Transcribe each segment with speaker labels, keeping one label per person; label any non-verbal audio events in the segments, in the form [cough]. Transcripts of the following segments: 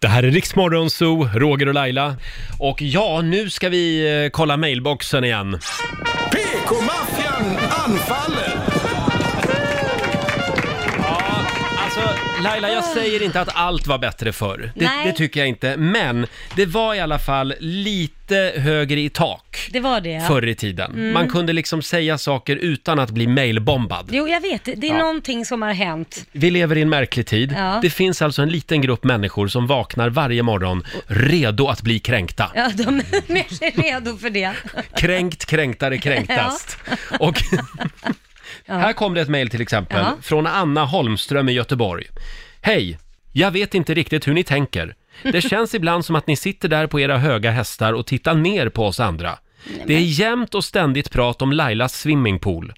Speaker 1: Det här är Riksmorgon Zoo, Roger och Laila. Och ja, nu ska vi eh, kolla mailboxen igen.
Speaker 2: PK-maffian anfaller!
Speaker 1: Alltså, Laila, jag säger inte att allt var bättre förr. Det,
Speaker 3: Nej.
Speaker 1: det tycker jag inte. Men det var i alla fall lite högre i tak
Speaker 3: Det var det.
Speaker 1: förr i tiden.
Speaker 3: Mm.
Speaker 1: Man kunde liksom säga saker utan att bli mailbombad.
Speaker 3: Jo, jag vet. Det är
Speaker 1: Ja.
Speaker 3: någonting som har hänt. [laughs]
Speaker 1: Vi lever i en märklig tid.
Speaker 3: Ja.
Speaker 1: Det finns alltså en liten grupp människor som vaknar varje morgon redo att bli kränkta.
Speaker 3: Ja, de är redo för det. [laughs]
Speaker 1: Kränkt, kränktare, kränktast. Och här kom det ett mejl till exempel
Speaker 3: Ja.
Speaker 1: från Anna Holmström i Göteborg. Hej! Jag vet inte riktigt hur ni tänker.
Speaker 3: [laughs]
Speaker 1: Det känns ibland som att ni sitter där på era höga hästar och tittar ner på oss andra. Det är jämt och ständigt prat om Lailas swimmingpool.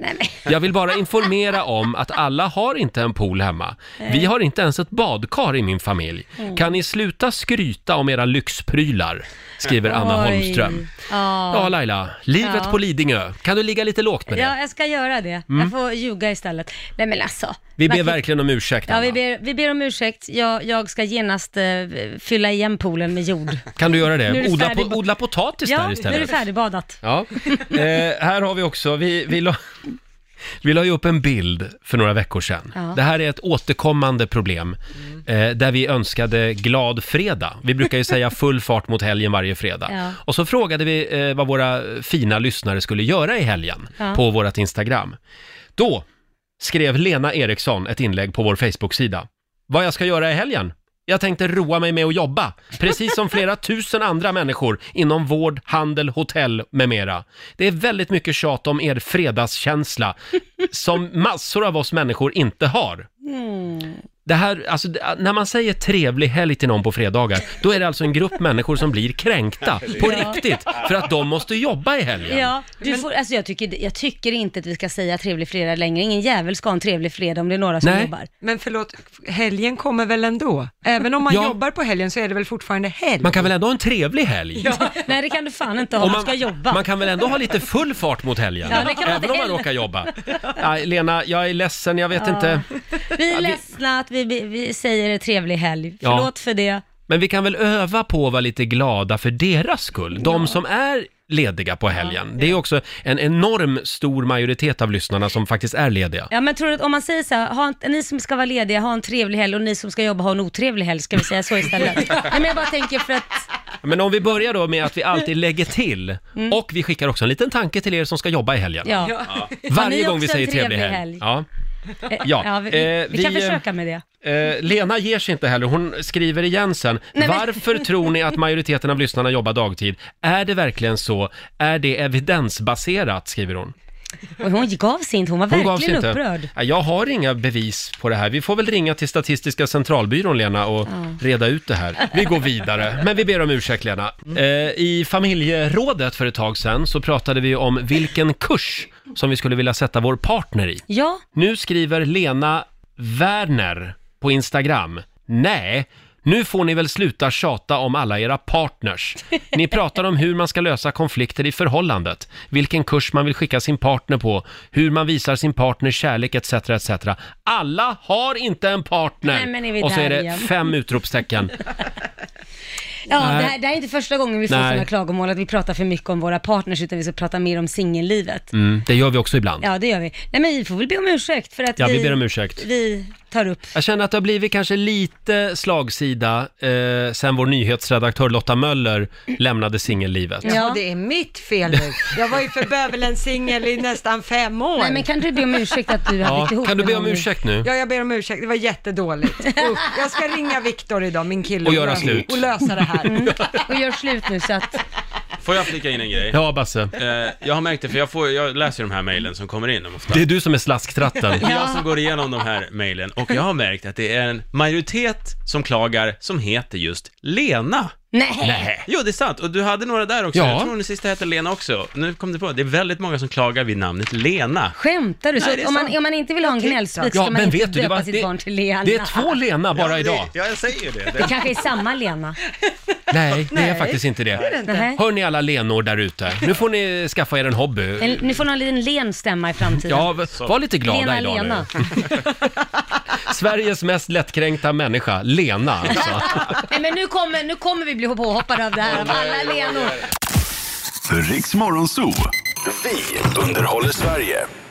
Speaker 1: Jag vill bara informera om att alla har inte en pool hemma. Vi har inte ens ett badkar i min familj.
Speaker 3: Mm.
Speaker 1: Kan ni sluta skryta om era lyxprylar? Skriver Anna
Speaker 3: Oj.
Speaker 1: Holmström. Ja,
Speaker 3: Ja.
Speaker 1: Laila. Livet
Speaker 3: Ja.
Speaker 1: på Lidingö. Kan du ligga lite lågt med det?
Speaker 3: ja, jag ska göra det.
Speaker 1: Mm.
Speaker 3: Jag får ljuga istället. Nej, men alltså.
Speaker 1: Vi ber
Speaker 3: man kan-
Speaker 1: verkligen om ursäkt,
Speaker 3: Ja,
Speaker 1: Anna.
Speaker 3: vi ber, vi ber om ursäkt. Jag, jag ska genast eh, fylla igen poolen med
Speaker 1: [laughs]
Speaker 3: jord.
Speaker 1: Kan du göra det?
Speaker 3: Nu är det
Speaker 1: odla,
Speaker 3: färdig-
Speaker 1: po- odla potatis
Speaker 3: ja,
Speaker 1: där istället.
Speaker 3: nu är det färdigbadat.
Speaker 1: Ja. Eh, här har vi också, vi, vi, la, vi la ju upp en bild för några veckor sedan.
Speaker 3: Ja.
Speaker 1: Det här är ett återkommande problem
Speaker 4: Mm.
Speaker 1: eh, där vi önskade glad fredag. Vi
Speaker 4: [laughs]
Speaker 1: brukar ju säga full fart mot helgen varje fredag.
Speaker 4: Ja.
Speaker 1: Och så frågade vi eh, vad våra fina lyssnare skulle göra i helgen
Speaker 4: Ja.
Speaker 1: på vårt Instagram. Då skrev Lena Eriksson ett inlägg på vår Facebook-sida. Vad jag ska göra i helgen? Jag tänkte roa mig med att jobba, precis som
Speaker 3: [laughs]
Speaker 1: flera tusen andra människor inom vård, handel, hotell med mera. Det är väldigt mycket tjat om er fredagskänsla som massor av oss människor inte har.
Speaker 3: Hmm.
Speaker 1: Det här, alltså, det- när man säger trevlig helg till någon på fredagar, då är det alltså en
Speaker 3: [laughs]
Speaker 1: grupp människor som blir kränkta på
Speaker 3: Ja.
Speaker 1: riktigt för att de måste jobba i helgen.
Speaker 3: Ja, du får, alltså jag, tycker, jag tycker inte att vi ska säga trevlig fredag längre. Ingen jävel ska ha en trevlig fredag om det är några som
Speaker 5: Nej.
Speaker 3: jobbar.
Speaker 5: Men förlåt, helgen kommer väl ändå? Även om man
Speaker 1: Ja.
Speaker 5: jobbar på helgen så är det väl fortfarande helg?
Speaker 1: Man kan väl ändå ha en trevlig helg?
Speaker 3: Ja, [laughs] nej, det kan du fan inte ha.
Speaker 1: Och
Speaker 3: Man, ska jobba.
Speaker 1: man kan väl ändå ha lite full fart mot helgen?
Speaker 3: Ja, det kan man
Speaker 1: även om man
Speaker 3: väl.
Speaker 1: råkar jobba. Nej, Lena, jag är ledsen, jag vet
Speaker 3: Ja.
Speaker 1: inte. [laughs]
Speaker 3: Vi är ledsna att vi, vi, vi säger trevlig helg.
Speaker 1: Ja.
Speaker 3: Förlåt för det.
Speaker 1: Men vi kan väl öva på att vara lite glada för deras skull. De som är lediga på helgen. Det är också en enorm stor majoritet av lyssnarna som faktiskt är lediga.
Speaker 3: Ja, men tror du att om man säger så här, ha en, ni som ska vara lediga, ha en trevlig helg och ni som ska jobba, ha en otrevlig helg, ska vi säga så
Speaker 1: [laughs]
Speaker 3: istället? Nej, men jag bara tänker för att,
Speaker 1: Men om vi börjar då med att vi alltid lägger till
Speaker 3: Mm.
Speaker 1: och vi skickar också en liten tanke till er som ska jobba i helgen.
Speaker 3: ja. Har ni
Speaker 1: Varje gång
Speaker 3: också
Speaker 1: vi
Speaker 3: en
Speaker 1: säger trevlig helg. Ja.
Speaker 3: Eh,
Speaker 1: Ja,
Speaker 3: vi,
Speaker 1: eh,
Speaker 3: vi kan
Speaker 1: vi, eh,
Speaker 3: försöka med det.
Speaker 1: Eh, Lena ger sig inte heller, hon skriver igen sen.
Speaker 3: Nej, men-
Speaker 1: Varför tror ni att majoriteten av lyssnarna jobbar dagtid? Är det verkligen så? Är det evidensbaserat? skriver hon.
Speaker 3: Och hon gav sig inte, hon var
Speaker 1: Hon gav sig
Speaker 3: verkligen
Speaker 1: inte.
Speaker 3: upprörd.
Speaker 1: Ja, Jag har inga bevis på det här. Vi får väl ringa till Statistiska centralbyrån, Lena, och reda ut det här. Vi går
Speaker 3: [laughs]
Speaker 1: vidare. Men vi ber om ursäkt, Lena. Eh, I familjerådet för ett tag sedan så pratade vi om vilken kurs som vi skulle vilja sätta vår partner i.
Speaker 3: Ja,
Speaker 1: Nu skriver Lena Werner på Instagram. Nej, nu får ni väl sluta tjata om alla era partners. Ni pratar om hur man ska lösa konflikter i förhållandet, vilken kurs man vill skicka sin partner på, hur man visar sin partner kärlek etc. etc. Alla har inte en partner!
Speaker 3: Nej, men är vi
Speaker 1: Och så
Speaker 3: där
Speaker 1: är det
Speaker 3: igen?
Speaker 1: fem utropstecken.
Speaker 3: ja det,
Speaker 1: Nej.
Speaker 3: här, det här är inte första gången vi får
Speaker 1: Nej.
Speaker 3: sådana klagomål att vi pratar för mycket om våra partners, utan vi ska prata mer om singellivet.
Speaker 1: Mm, det gör vi också ibland.
Speaker 3: Ja, det gör vi. Nej, men vi får väl be om ursäkt för att
Speaker 1: Ja,
Speaker 3: vi,
Speaker 1: vi ber om ursäkt.
Speaker 3: vi tar upp.
Speaker 1: Jag känner att det har blivit kanske lite slagsida eh, sen vår nyhetsredaktör Lotta Möller lämnade singellivet.
Speaker 5: Ja, det är mitt fel nu. Jag var ju för bövelen singel i nästan fem år.
Speaker 3: Nej, men kan du be om ursäkt att du har
Speaker 1: Ja,
Speaker 3: blivit ihop
Speaker 1: kan du
Speaker 3: med
Speaker 1: be om
Speaker 3: någon?
Speaker 1: ursäkt nu?
Speaker 5: Ja, jag ber om ursäkt. Det var jättedåligt. Usch. Jag ska ringa Viktor idag, min kille,
Speaker 1: Och göra
Speaker 5: lösa-
Speaker 1: slut.
Speaker 5: och lösa det här.
Speaker 3: Mm. Och gör slut nu så att...
Speaker 6: Får jag flika in en grej?
Speaker 1: Ja, Basse.
Speaker 6: Eh, jag har märkt det, för jag, får, jag läser ju de här mejlen som kommer in ofta.
Speaker 1: Det är du som är slasktratten.
Speaker 3: [laughs]
Speaker 6: Det är jag som går igenom de här mejlen och jag har märkt att det är en majoritet som klagar som heter just Lena.
Speaker 3: Nej.
Speaker 6: Jo, det är sant. Och du hade några där också.
Speaker 1: Ja.
Speaker 6: Jag tror den sista hette Lena också. Nu kom det på, det är väldigt många som klagar vid namnet Lena.
Speaker 3: Skämtar du? Så
Speaker 6: Nej, det är
Speaker 3: om, man,
Speaker 6: sant.
Speaker 3: om man inte vill ha en gnällspik
Speaker 6: Ja,
Speaker 3: ska man
Speaker 6: men
Speaker 3: inte
Speaker 6: vet du, det
Speaker 3: döpa
Speaker 6: var-
Speaker 3: sitt
Speaker 6: det-
Speaker 3: barn till Lena.
Speaker 1: Det är två Lena bara idag.
Speaker 6: Ja, jag säger det.
Speaker 3: Det kanske är samma Lena.
Speaker 1: Nej, det är
Speaker 3: Nej.
Speaker 1: faktiskt inte det.
Speaker 3: Det är det inte. Nej.
Speaker 1: Hör ni alla Lenor där ute? Nu får ni skaffa er en
Speaker 3: En,
Speaker 1: hobby.
Speaker 3: ni får någon liten len stämma i framtiden.
Speaker 1: Ja, v- var lite glada
Speaker 3: Lena,
Speaker 1: idag
Speaker 3: Lena.
Speaker 1: nu. [laughs] Sveriges mest lättkränkta människa, Lena
Speaker 3: [laughs]
Speaker 1: alltså.
Speaker 3: Nej, men nu kommer, nu kommer vi bli påhoppade av det här, av alla Lenor.
Speaker 4: Riks Morgonzoo. Vi underhåller Sverige.